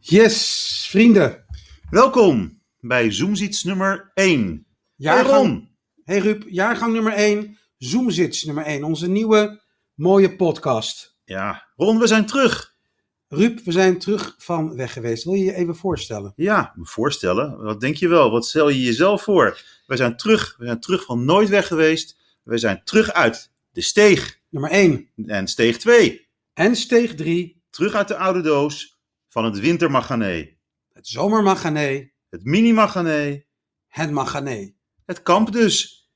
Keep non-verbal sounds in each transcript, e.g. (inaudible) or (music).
Yes, vrienden. Welkom bij Zoomziets nummer 1. Waarom? Hey Ruud, jaargang nummer 1, Zoomzits nummer 1, onze nieuwe mooie podcast. Ja, Ron, we zijn terug. Ruud, we zijn terug van weg geweest. Wil je je even voorstellen? Ja, me voorstellen. Wat denk je wel? Wat stel je jezelf voor? We zijn terug. We zijn terug van nooit weg geweest. We zijn terug uit de steeg. Nummer 1 En steeg 2. en steeg 3, Terug uit de oude doos van het wintermagané. het zomermagané, Het mini-magané. het magané. Het kamp dus.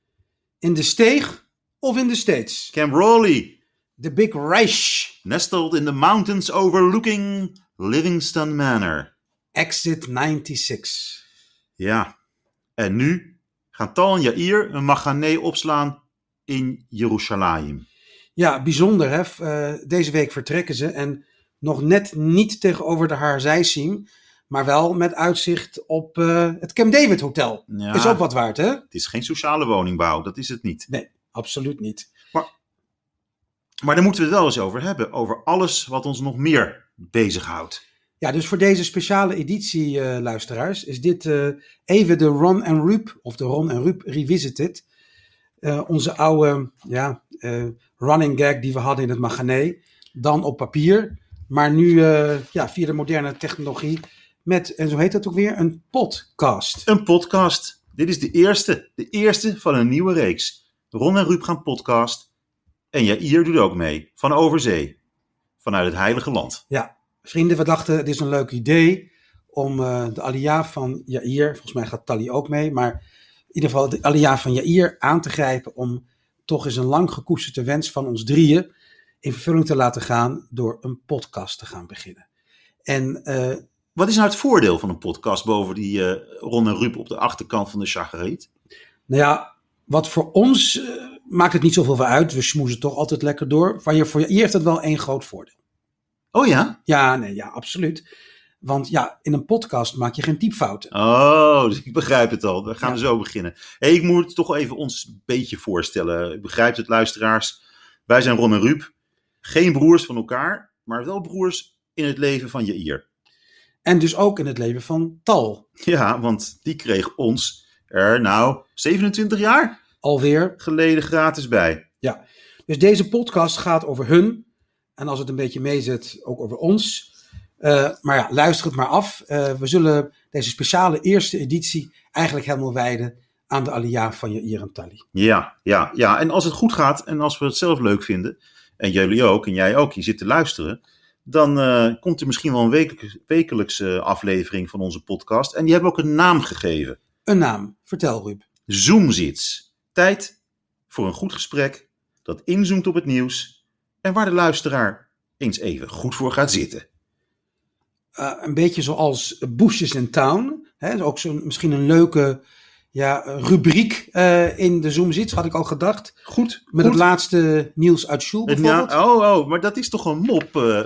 In de steeg of in de steeds? Camp Raleigh. The Big Rush. Nestled in the mountains overlooking Livingston Manor. Exit 96. Ja, en nu gaan Tal en Jair een maganee opslaan in Jeruzalem. Ja, bijzonder hè. F- eh, deze week vertrekken ze en nog net niet tegenover de Haarzijsiem, maar wel met uitzicht op eh, het Camp David Hotel. Ja, Is ook wat waard hè? Het is geen sociale woningbouw, dat is het niet. Absoluut niet. Maar daar moeten we het wel eens over hebben, over alles wat ons nog meer bezighoudt. Ja, dus voor deze speciale editie, eh, luisteraars, is dit eh, even de Ron en Rup, of de Ron en Rup Revisited. Eh, onze oude ja, eh, running gag die we hadden in het Magané. Dan op papier, maar nu eh, ja, via de moderne technologie met, en zo heet dat ook weer, een podcast. Een podcast. Dit is de eerste, de eerste van een nieuwe reeks. Ron en Ruud gaan podcast. En Jair doet ook mee, van overzee. Vanuit het heilige land. Vrienden, we dachten, het is een leuk idee om eh, de Aliyah van Jair, volgens mij gaat Tally ook mee, maar in ieder geval de Aliyah van Jair aan te grijpen om toch eens een lang gekoesterde wens van ons drieën in vervulling te laten gaan door een podcast te gaan beginnen. En eh, Wat is nou het voordeel van een podcast boven die eh, Ron en Ruud op de achterkant van de chagriet? nou ja, wat voor ons eh, maakt het niet zoveel voor uit, we smoezen toch altijd lekker door, maar je- voor Jair heeft dat wel één groot voordeel. Oh ja? Ja, nee, ja, absoluut. Want ja, in een podcast maak je geen typfouten. Oh, dus ik begrijp het al. We gaan Ja. zo beginnen. Hey, ik moet toch even ons een beetje voorstellen. Ik begrijp het, luisteraars. Wij zijn Ron en Ruup. Geen broers van elkaar, maar wel broers in het leven van Jair. En dus ook in het leven van Tal. Ja, want die kreeg ons er nou 27 jaar Alweer. geleden gratis bij. Dus deze podcast gaat over hun. En als het een beetje meezit, ook over ons. Eh, maar ja, luister het maar af. Eh, we zullen deze speciale eerste editie eigenlijk helemaal wijden aan de Aliyah van Jair en Tali. Ja, ja, ja. En als het goed gaat en als we het zelf leuk vinden, en jullie ook en jij ook, je zit te luisteren, dan eh, komt er misschien wel een wekelijks- wekelijkse aflevering van onze podcast. En die hebben we ook een naam gegeven. Een naam, vertel Ruud. Zoomzits. Tijd voor een goed gesprek dat inzoomt op het nieuws en waar de luisteraar eens even goed voor gaat zitten. Eh, een beetje zoals Bushes in Town. Hè, is ook zo'n, misschien een leuke ja, rubriek eh, in de Zoom zit, had ik al gedacht. Goed, Met goed. het laatste nieuws uit Sjoel Het- bijvoorbeeld. ja, oh, oh, maar dat is toch een mop, eh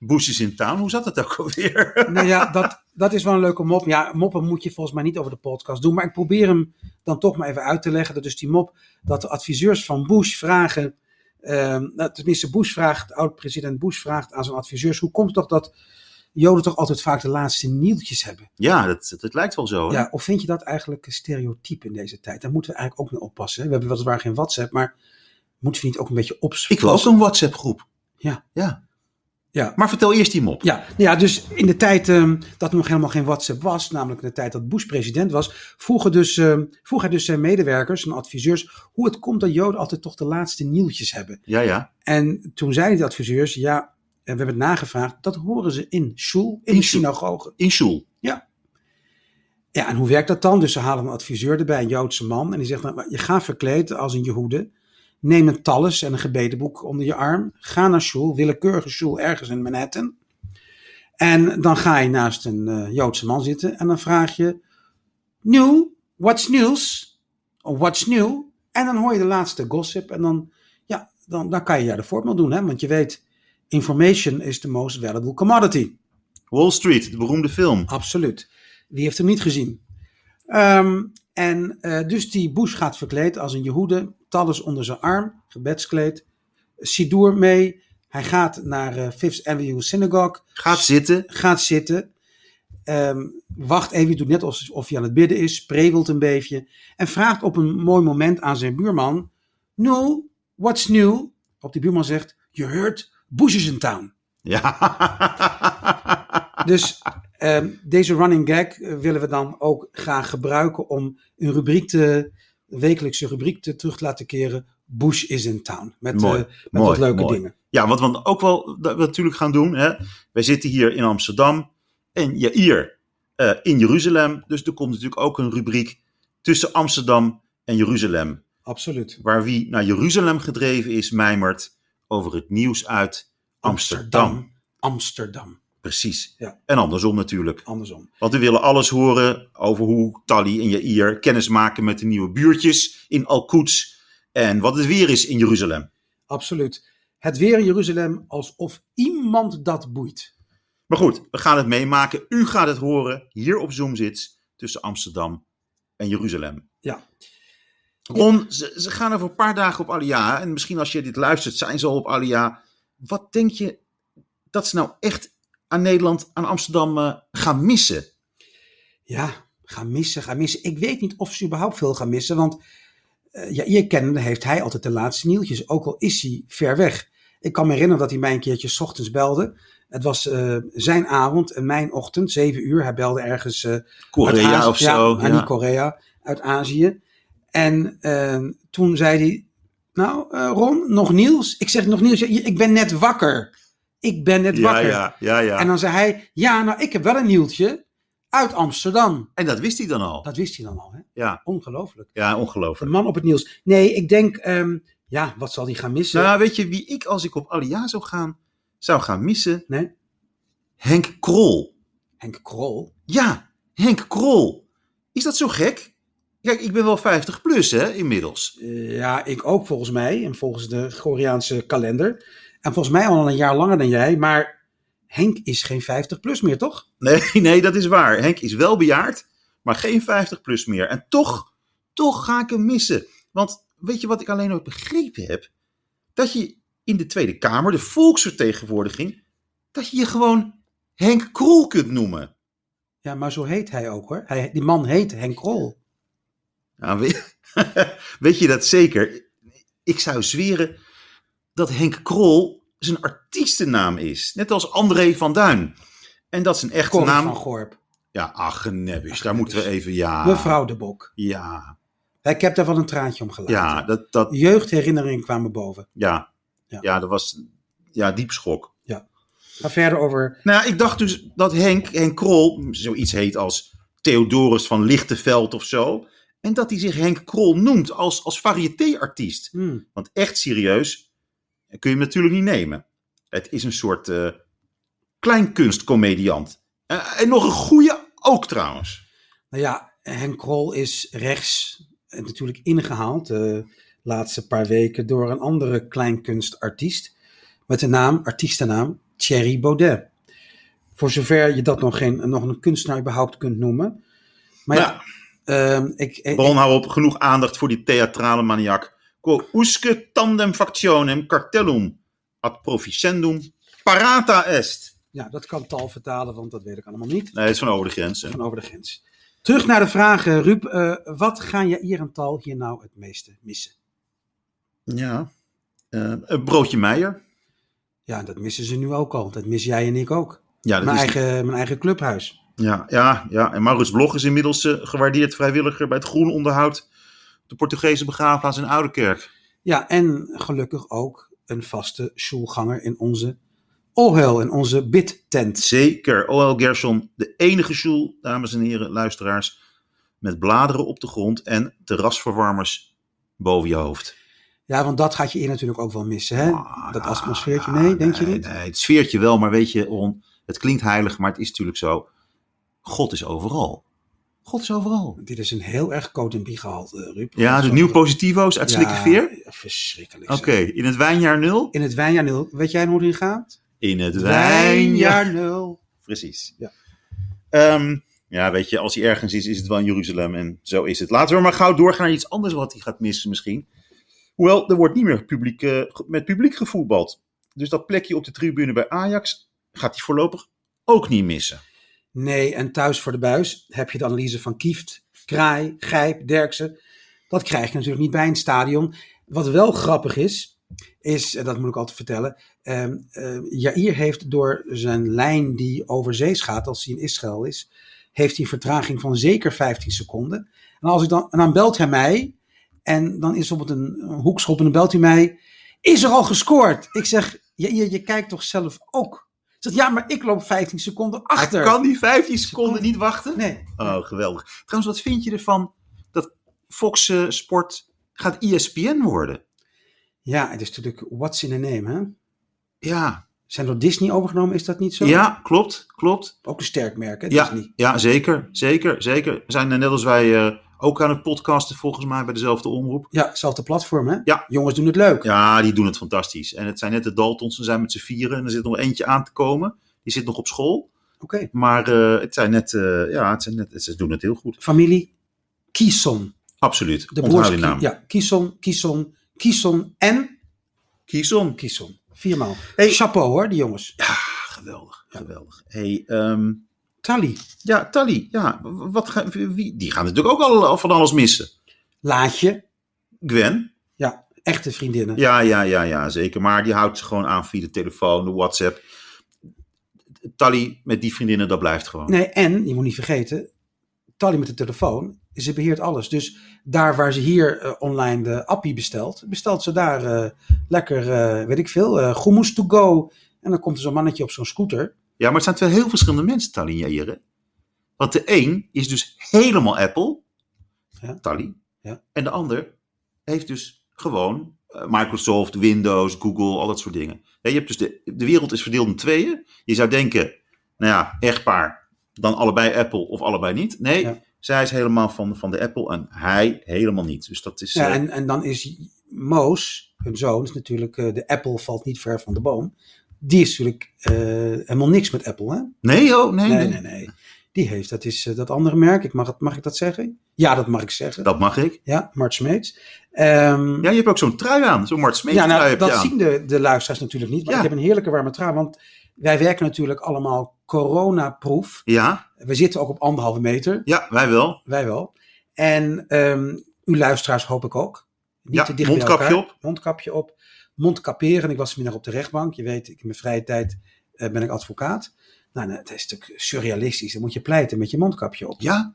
Boesjes in Town? Hoe zat dat ook (laughs) alweer? Nou ja, dat, dat is wel een leuke mop. Ja, moppen moet je volgens mij niet over de podcast doen. Maar ik probeer hem dan toch maar even uit te leggen. Dat dus die mop dat de adviseurs van Bush vragen. ehm, nou, tenminste, Bush vraagt, oud-president Bush vraagt aan zijn adviseurs. Hoe komt het toch dat Joden toch altijd vaak de laatste nieltjes hebben? Ja, dat, dat, lijkt wel zo. hè? Ja, of vind je dat eigenlijk een stereotype in deze tijd? Daar moeten we eigenlijk ook mee oppassen. Hè? We hebben weliswaar geen WhatsApp, maar moeten we niet ook een beetje opzoeken? Ik wil ook een WhatsApp-groep. Ja. ja. Ja. Maar vertel eerst die mop. Ja, nou ja, dus in de tijd ehm, dat er nog helemaal geen WhatsApp was, namelijk in de tijd dat Bush president was, vroegen, dus, ehm, vroeg hij dus zijn medewerkers, zijn adviseurs, hoe het komt dat Joden altijd toch de laatste nieuwtjes hebben. Ja, ja. En toen zeiden de adviseurs, ja, en we hebben het nagevraagd, dat horen ze in shul, in In de shul. synagogen. In Sjoel. Ja, en hoe werkt dat dan? Dus ze halen een adviseur erbij, een Joodse man. En die zegt, nou, je gaat verkleed als een Jehoede. Neem een tallis en een gebedenboek onder je arm. Ga naar Sjoel, willekeurige Sjoel, ergens in Manhattan. En dan ga je naast een eh, Joodse man zitten en dan vraag je... Nieuw, what's nieuws? Of what's nieuw? En dan hoor je de laatste gossip en dan, ja, dan, dan kan je daar de voordeel doen. Hè? Want je weet, information is the most valuable commodity. Wall Street, de beroemde film. Absoluut. Wie heeft hem niet gezien? Ehm, en eh, dus die Bush gaat verkleed als een Jehoede, tallis onder zijn arm, gebedskleed, sidoer mee, Hij gaat naar eh, Fifth Avenue Synagogue, Gaat zitten. gaat zitten, ehm, wacht even, doet net alsof of hij aan het bidden is, prevelt een beetje en vraagt op een mooi moment aan zijn buurman, nou, what's new? Op die buurman zegt, you heard, Bush is in town. (laughs) Ja. Dus ehm, deze running gag eh, willen we dan ook graag gebruiken om een rubriek te, een wekelijkse rubriek te terug te laten keren. Bush is in town. Met, eh, Mooi, met mooi, wat leuke mooi. dingen. Ja, wat we ook wel dat we natuurlijk gaan doen. Hè? Wij zitten hier in Amsterdam en Jair eh, in Jeruzalem. Dus er komt natuurlijk ook een rubriek tussen Amsterdam en Jeruzalem. Absoluut. Waar wie naar Jeruzalem gedreven is, mijmert over het nieuws uit Amsterdam. Amsterdam. Precies. Ja. En andersom natuurlijk. Andersom. Want we willen alles horen over hoe Tally en Jair kennis maken met de nieuwe buurtjes in Al-Quds. En wat het weer is in Jeruzalem. Absoluut. Het weer in Jeruzalem alsof iemand dat boeit. Maar goed, we gaan het meemaken. U gaat het horen hier op Zoom zit tussen Amsterdam en Jeruzalem. Ja. Ron, ze, ze gaan over een paar dagen op Alia. En misschien als je dit luistert, zijn ze al op Alia. Wat denk je dat ze nou echt aan Nederland, aan Amsterdam eh, gaan missen? Ja, ga missen, ga missen. Ik weet niet of ze überhaupt veel gaan missen, want eh ja, je kennende heeft hij altijd de laatste nieuwtjes, ook al is hij ver weg. Ik kan me herinneren dat hij mij een keertje 's ochtends belde. Het was eh, zijn avond en mijn ochtend, zeven uur. Hij belde ergens eh, uit Korea Azië- of ja, zo. maar niet Korea, uit Azië. En eh, toen zei hij, nou eh, Ron, nog nieuws? Ik zeg nog nieuws, Ja, ik ben net wakker. Ik ben net ja, wakker. ja, ja, ja. En dan zei hij, ja, nou ik heb wel een nieuwtje uit Amsterdam. En dat wist hij dan al. Dat wist hij dan al, hè? Ja, Ongelooflijk. ja De ongelooflijk. man op het nieuws. Nee, ik denk, ehm, ja, wat zal die gaan missen? Nou, weet je wie ik als ik op Alia zou gaan, zou gaan missen? Nee? Henk Krol. Henk Krol. Ja, Henk Krol. Is dat zo gek? Kijk, ik ben wel 50 plus, hè, inmiddels. Eh, ja, ik ook volgens mij. En volgens de Koreaanse kalender. En volgens mij al een jaar langer dan jij. Maar Henk is geen 50 plus meer, toch? Nee, (laughs) nee, dat is waar. Henk is wel bejaard, maar geen 50 plus meer. En toch, toch ga ik hem missen. Want weet je wat ik alleen nooit begrepen heb? Dat je in de Tweede Kamer, de volksvertegenwoordiging, dat je je gewoon Henk Krol kunt noemen. Ja, maar zo heet hij ook hoor. Hij, die man heet Henk Krol. Nou, weet, (laughs) weet je dat zeker? Ik zou zweren dat Henk Krol zijn artiestennaam is. Net als André van Duin. En dat zijn echte Corrie naam... van Gorp. Ja, ach, nebbis. Daar nebbis. moeten we even... Ja, Mevrouw de Bok. Ja, Ik heb daar wel een traantje om gelaten. ja, dat, dat, Jeugdherinneringen kwamen boven. ja. Ja. ja, dat was... Ja, diep schok. Maar verder over... Nou, ja, ik dacht dus dat Henk, Henk Krol zoiets heet als Theodorus van Lichtenveld of zo. En dat hij zich Henk Krol noemt als, als variété-artiest. Hmm, Want echt serieus kun je hem natuurlijk niet nemen. Het is een soort eh kleinkunstcomediant. Eh, en nog een goede ook trouwens. Nou ja, Henk Krol is rechts eh, natuurlijk ingehaald de laatste paar weken door een andere kleinkunstartiest met de naam, artiestennaam Thierry Baudet. Voor zover je dat nog, geen, nog een kunstenaar überhaupt kunt noemen. Maar ja, ehm, ik, ik- Bron, Nou, hou op, genoeg aandacht voor die theatrale maniak. Quo usque tandem factionem cartellum ad proficendum parata est. ja, dat kan tal vertalen, want dat weet ik allemaal niet. Nee, dat is van over de grens. hè. Van over de grens. Terug naar de vragen, Ruud. Eh, wat gaan je hier en tal hier nou het meeste missen? Ja. Eh, een broodje Meijer. Ja, dat missen ze nu ook al. Dat mis jij en ik ook. Ja, dat Mijn is, eigen, mijn eigen clubhuis. ja, ja, ja. En Maurits Blog is inmiddels eh, gewaardeerd vrijwilliger bij het Groen Onderhoud. De Portugese begraafplaats in Oudekerk. Ja, en gelukkig ook een vaste schoolganger in onze Ohel, in onze bidtent. Zeker. O.L. Gerson, de enige sjoel, dames en heren, luisteraars. Met bladeren op de grond en terrasverwarmers boven je hoofd. Ja, want dat gaat je hier natuurlijk ook wel missen, hè? Ah, dat atmosfeertje, nee, denk je nee, niet? Nee, het sfeertje wel, maar weet je, Ron, het klinkt heilig, maar het is natuurlijk zo. God is overal. God is overal. Dit is een heel erg code en gehalte, Ruud. Ja, dus de nieuw positivo's uit Slikkeveer? Ja, verschrikkelijk. Oké, zeg. in het wijnjaar nul? In het wijnjaar nul. Weet jij hoe het in gaat? In het wijnjaar. nul. Precies. Ja. Ehm, ja, weet je, als hij ergens is, is het wel in Jeruzalem. En zo is het. Laten we maar gauw doorgaan naar iets anders wat hij gaat missen misschien. Hoewel, er wordt niet meer publiek, eh, ge- met publiek gevoetbald. Dus dat plekje op de tribune bij Ajax gaat hij voorlopig ook niet missen. Nee, en thuis voor de buis heb je de analyse van Kieft, Kraai, Gijp, Derksen. Dat krijg je natuurlijk niet bij een stadion. Wat wel grappig is, is, en dat moet ik altijd vertellen, eh, eh, Jair heeft door zijn lijn die over zees gaat, als hij in Israël is, heeft hij een vertraging van zeker 15 seconden. En, als ik dan, en dan belt hij mij, en dan is op het een, een hoekschop en dan belt hij mij, is er al gescoord? Ik zeg, Jair, je kijkt toch zelf ook? Hij zegt, ja, maar ik loop 15 seconden achter. Hij kan die 15 seconden niet wachten. Nee. Oh, geweldig. Trouwens, wat vind je ervan dat Fox eh, Sport gaat E ESPN worden? Ja, het is natuurlijk what's in a name, hè? Ja, Zijn door Disney overgenomen, is dat niet zo? ja klopt, klopt. Ook een sterk merk, hè, Ja, Disney. ja, zeker, zeker, zeker. We zijn eh, net als wij eh, ook aan het podcasten volgens mij bij dezelfde omroep. Ja, hetzelfde platform, hè? Ja. Jongens doen het leuk. Ja, die doen het fantastisch. En het zijn net de Daltons, ze zijn met z'n vieren en er zit nog eentje aan te komen. Die zit nog op school. Oké. Maar eh, het zijn net, eh, ja, het zijn net, ze doen het heel goed. Familie Kison. Absoluut. De Onthoud broers. die naam. Ja, Kison, Kison, Kison en Kieson. Kison. Viermaal. Hey. Chapeau, hoor, die jongens. Ja, geweldig, geweldig. Hey, ehm, Tally, Ja, Tally, ja, w- wat ga- wie, die gaan natuurlijk ook al, al van alles missen. Laatje, Gwen? echte vriendinnen. Ja, ja, ja, ja, zeker. Maar die houdt ze gewoon aan via de telefoon, de WhatsApp. Tally met die vriendinnen, dat blijft gewoon. Nee, en, je moet niet vergeten, Tally met de telefoon, ze beheert alles. Dus daar waar ze hier eh, online de appie bestelt, bestelt ze daar eh, lekker, eh, weet ik veel, eh hummus to go. En dan komt er zo'n mannetje op zo'n scooter. Ja, maar het zijn twee heel verschillende mensen, Tally en Jair. hè? Want de een is dus helemaal Apple, Ja. Tally. Ja. En de ander heeft dus gewoon eh, Microsoft, Windows, Google, al dat soort dingen. Hè, Je hebt dus de, de wereld is verdeeld in tweeën. Je zou denken, nou ja, echtpaar, dan allebei Apple of allebei niet. Nee, Ja. zij is helemaal van, van de Apple en hij helemaal niet. Dus dat is... Ja, eh, en, en dan is Moos, hun zoon, is natuurlijk, eh, de appel valt niet ver van de boom. Die is natuurlijk eh, helemaal niks met Apple, hè? nee, oh, nee, nee, Nee, nee, nee. Die heeft, dat is eh, dat andere merk. Ik mag, het, mag ik dat zeggen? Ja, dat mag ik zeggen. Dat mag ik. Ja, Mart Smeets. Ehm, Ja, je hebt ook zo'n trui aan. Zo'n Mart Smeets Ja, trui nou, heb je dat aan. zien de, de luisteraars natuurlijk niet. Maar Ja. ik heb een heerlijke warme trui. Want wij werken natuurlijk allemaal coronaproof. Ja, We zitten ook op anderhalve meter. ja, wij wel. Wij wel. En ehm uw luisteraars hoop ik ook. Niet Ja, te dicht mondkapje bij elkaar. op. Mondkapje op. Mondkaperen. Ik was vanmiddag op de rechtbank. Je weet, ik in mijn vrije tijd eh, ben ik advocaat. Nou, nou, het is natuurlijk surrealistisch. Dan moet je pleiten met je mondkapje op. Ja,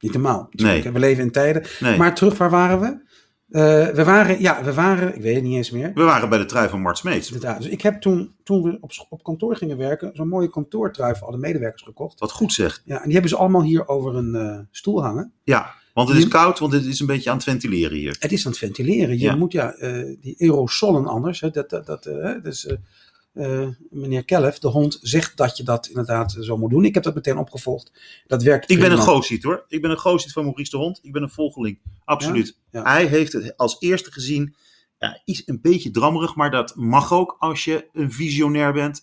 Niet normaal. natuurlijk, hè. We leven in tijden. nee. Maar terug, waar waren we? Eh, we waren, ja, we waren, ik weet het niet eens meer. We waren bij de trui van Mart Smeets. Inderdaad. Dus ik heb toen, toen we op, scho- op kantoor gingen werken, zo'n mooie kantoortrui voor alle medewerkers gekocht. Wat goed zeg. Ja, en die hebben ze allemaal hier over een eh, stoel hangen. Ja, want het is Ja. koud, want het is een beetje aan het ventileren hier. Het is aan het ventileren. Je Ja. moet ja, eh, die aerosolen anders. Hè, dat, dat, dat, eh, hè, dus, eh, eh, meneer Kelf, de hond, zegt dat je dat inderdaad zo moet doen. Ik heb dat meteen opgevolgd. Dat werkt Ik ben een prima. goosiet hoor. Ik ben een goosiet van Maurice de Hond. Ik ben een volgeling. Absoluut. Ja, ja. Hij heeft het als eerste gezien. Ja, iets een beetje drammerig, maar dat mag ook als je een visionair bent.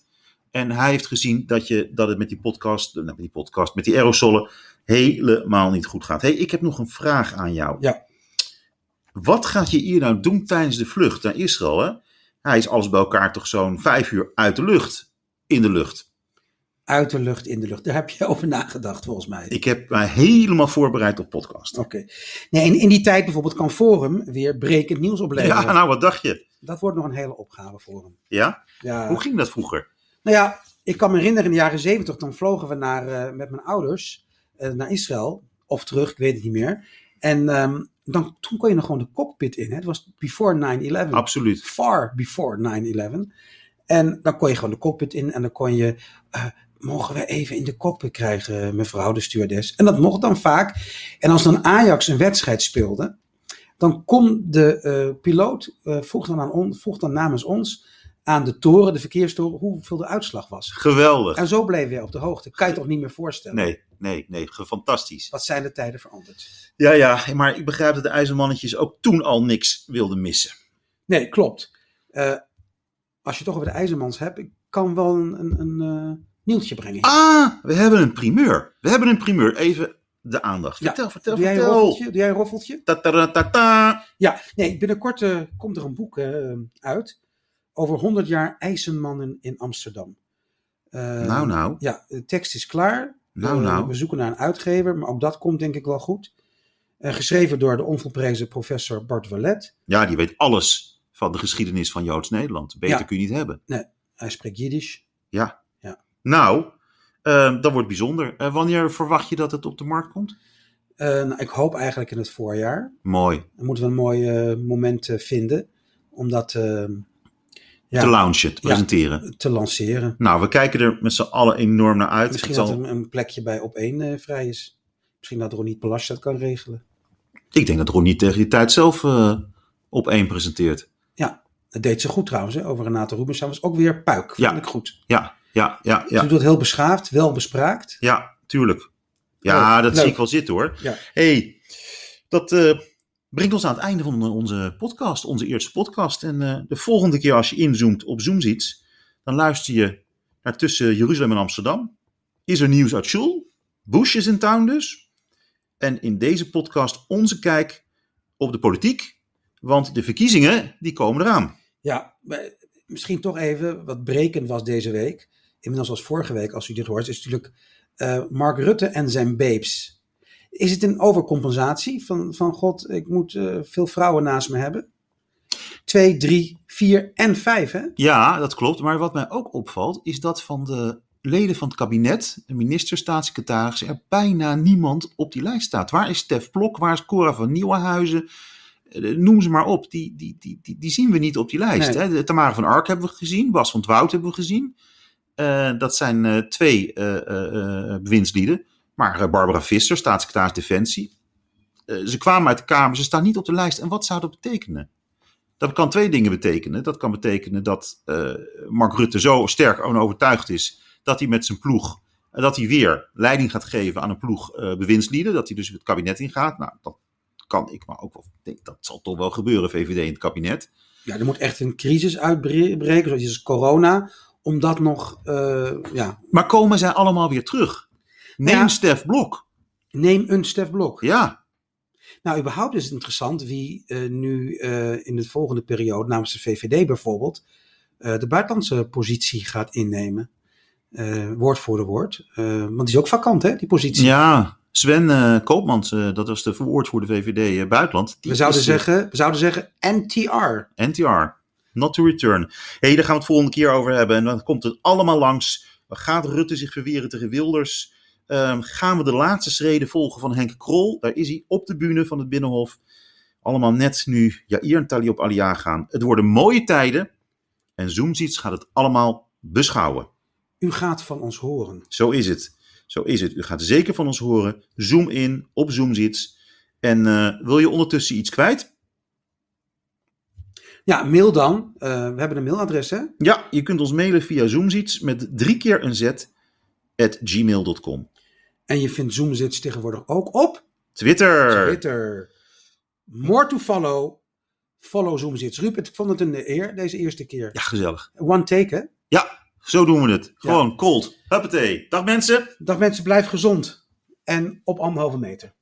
En hij heeft gezien dat, je, dat het met die podcast, eh, met die podcast, met die aerosolen helemaal niet goed gaat. hey, ik heb nog een vraag aan jou. Ja. Wat gaat je hier nou doen tijdens de vlucht naar Israël? Hè? Hij is alles bij elkaar toch zo'n vijf uur uit de lucht. In de lucht. Uit de lucht, in de lucht. Daar heb je (laughs) over nagedacht, volgens mij. Ik heb mij helemaal voorbereid op podcast. Oké. Nee, en in die tijd bijvoorbeeld kan Forum weer brekend nieuws opleveren. Ja, nou, wat dacht je? Dat wordt nog een hele opgave voor hem. Ja? Ja. Hoe ging dat vroeger? Nou ja, ik kan me herinneren in de jaren zeventig, dan vlogen we naar, eh, met mijn ouders eh, naar Israël. Of terug, ik weet het niet meer. En ehm, dan, toen kon je nog gewoon de cockpit in. Hè? Het was before 9-11. Absoluut. Far before 9-11. En dan kon je gewoon de cockpit in en dan kon je... eh, mogen we even in de cockpit krijgen, mevrouw de stewardess? En dat mocht dan vaak. En als dan Ajax een wedstrijd speelde... dan kon de eh, piloot, eh, vroeg, dan aan on, vroeg dan namens ons... aan de toren, de verkeerstoren, hoeveel de uitslag was. Geweldig. En zo bleven we op de hoogte. Kan je toch niet meer voorstellen? Nee, nee, nee. ge- Fantastisch. Wat zijn de tijden veranderd? Ja, ja. Maar ik begrijp dat de ijzermannetjes ook toen al niks wilden missen. Nee, klopt. Eh, als je het toch over de IJzermans hebt... ik kan wel een, een, een eh, nieuwtje brengen. hier. Ah, we hebben een primeur. We hebben een primeur. Even de aandacht. Ja. Vertel, vertel, Doe jij, een vertel. roffeltje? Doe jij een roffeltje? Ta, ta, ta, ta, ta. Ja, nee, binnenkort eh, komt er een boek eh, uit. Over 100 jaar IJzenmannen in Amsterdam. Eh, nou, nou. Ja, de tekst is klaar. Nou, Eh, nou. We zoeken naar een uitgever, maar ook dat komt denk ik wel goed. Eh, geschreven door de onvolprezen professor Bart Wallet. Ja, die weet alles van de geschiedenis van Joods Nederland. Beter Ja. kun je niet hebben. Hij spreekt Jiddisch. Nou, eh, dat wordt bijzonder. Eh, wanneer verwacht je dat het op de markt komt? Eh, nou, ik hoop eigenlijk in het voorjaar. Mooi. Dan moeten we een mooi eh, moment eh, vinden om dat eh, ja, Te launchen, te presenteren. te lanceren. Nou, we kijken er met z'n allen enorm naar uit. Misschien Het zal- dat er een plekje bij op één eh, vrij is. Misschien dat Ronnie Palas dat kan regelen. Ik denk dat Ronnie tegen die tijd zelf eh, op één presenteert. Dat deed ze goed trouwens, hè, over Renate Rubens. Dat was ook weer puik. Vond Ja. ik goed. Ja, ja, ja, Ze ja. doet dat heel beschaafd, wel bespraakt. Ja, tuurlijk. Ja, Leuk, dat zie leuk. ik wel zitten hoor. Ja. hey, dat eh, brengt ons aan het einde van onze podcast, onze eerste podcast. En eh, de volgende keer als je inzoomt op Zoom ziet, dan luister je naar tussen Jeruzalem en Amsterdam. Is er nieuws uit Shul? Bush is in town dus. En in deze podcast onze kijk op de politiek, want de verkiezingen die komen eraan. Ja, maar misschien toch even wat brekend was deze week. Inmiddels als vorige week, als u dit hoort, is natuurlijk eh, Mark Rutte en zijn babes. Is het een overcompensatie van, van God, ik moet eh, veel vrouwen naast me hebben? Twee, drie, vier en vijf, hè? Ja, dat klopt. Maar wat mij ook opvalt, is dat van de leden van het kabinet, de minister, staatssecretaris, er bijna niemand op die lijst staat. Waar is Stef Blok? Waar is Cora van Nieuwenhuizen? Eh, Noem ze maar op. Die, die, die, die, die zien we niet op die lijst. Nee. Hè? De Tamara van Ark hebben we gezien. Bas van het Woud hebben we gezien. Eh, dat zijn eh, twee eh, eh, eh, bewindslieden. Maar eh, Barbara Visser, staatssecretaris Defensie. Eh, ze kwamen uit de Kamer, ze staan niet op de lijst. En wat zou dat betekenen? Dat kan twee dingen betekenen. Dat kan betekenen dat eh, Mark Rutte zo sterk en overtuigd is dat hij met zijn ploeg, eh, dat hij weer leiding gaat geven aan een ploeg eh, bewindslieden, dat hij dus het kabinet ingaat. Nou, dat kan ik maar ook wel. ik Denk, dat zal toch wel gebeuren, VVD in het kabinet. Ja, er moet echt een crisis uitbreken, zoals is corona, om dat nog, eh, ja, Maar komen zij allemaal weer terug? Neem Ja. Stef Blok. neem een Stef Blok. Ja, Nou, überhaupt is het interessant wie eh, nu eh, in de volgende periode, namens de VVD bijvoorbeeld, eh, de buitenlandse positie gaat innemen. Eh, woord voor de woord. Eh, want die is ook vakant, hè, die positie. ja. Sven eh, Koopmans, eh, dat was de verwoordvoerder VVD eh, buitenland. Die we, zouden is, eh, zeggen, we zouden zeggen NTR. NTR. Not to return. Hé, hey, daar gaan we het volgende keer over hebben. En dan komt het allemaal langs. Gaat Rutte zich verweren tegen Wilders? Ehm, gaan we de laatste schreden volgen van Henk Krol? Daar is hij op de bühne van het Binnenhof. Allemaal net nu Jair en Tali op Alia gaan. Het worden mooie tijden. En Zoomziets gaat het allemaal beschouwen. U gaat van ons horen. Zo is het. Zo is het. U gaat zeker van ons horen. Zoom in op Zoomziets. En eh, wil je ondertussen iets kwijt? Ja, mail dan. Eh, we hebben een mailadres, hè? Ja, je kunt ons mailen via Zoomziets met drie keer een z at gmail.com. En je vindt Zoomzits tegenwoordig ook op Twitter. Twitter. More to follow. Follow Zoomzits. Ruud, ik vond het een eer deze eerste keer. Ja, gezellig. One take, hè? Ja, zo doen we het. Gewoon cold. Huppatee. Dag mensen. Dag mensen, blijf gezond. En op anderhalve meter.